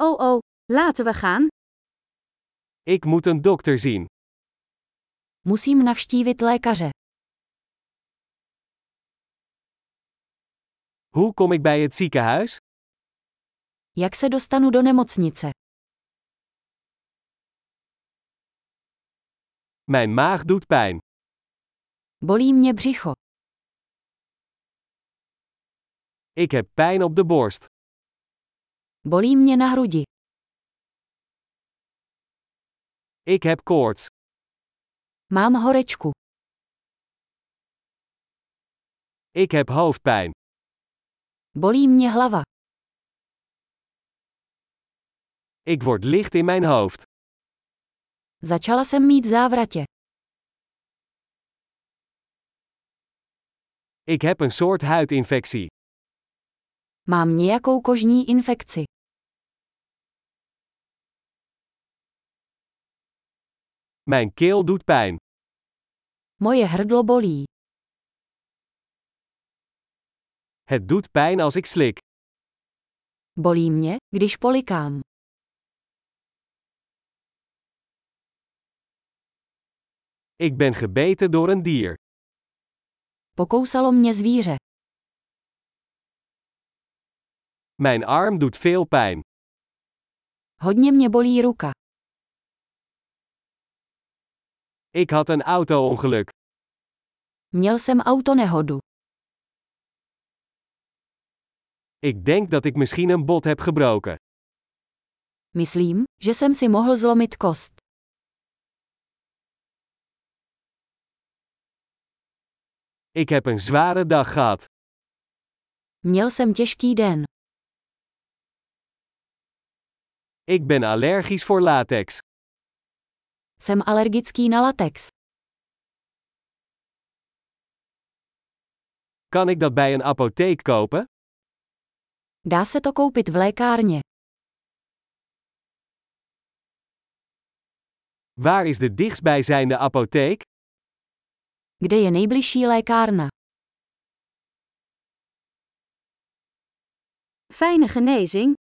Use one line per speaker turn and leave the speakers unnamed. Oh oh, laten we gaan.
Ik moet een dokter zien.
Musím navštívit lékaře.
Hoe kom ik bij het ziekenhuis?
Jak se dostanu do nemocnice?
Mijn maag doet pijn.
Bolí mě břicho.
Ik heb pijn op de borst.
Bolí mě na hrudi.
Ik heb koorts.
Mám horečku.
Ik heb hoofdpijn.
Bolí mě hlava.
Ik word licht in mijn hoofd.
Začala jsem mít závratě.
Ik heb een soort huidinfectie.
Mám nějakou kožní infekci.
Mijn keel doet pijn.
Moje hrdlo bolí.
Het doet pijn als ik slik.
Bolí mě, když polikám.
Ik ben gebeten door een dier.
Pokousalo mě zvíře.
Mijn arm doet veel pijn.
Hodně mě bolí ruka.
Ik had een auto-ongeluk.
Měl jsem autonehodu.
Ik denk dat ik misschien een bot heb gebroken.
Myslím, že jsem si mohl zlomit kost.
Ik heb een zware dag gehad.
Měl jsem těžký den.
Ik ben allergisch voor latex.
Jsem alergický na latex.
Kan ik dat bij een apotheek kopen?
Dá se to koupit v lékárně.
Waar is de dichtstbijzijnde apotheek?
Kde je nejbližší lékárna?
Fijne genezing.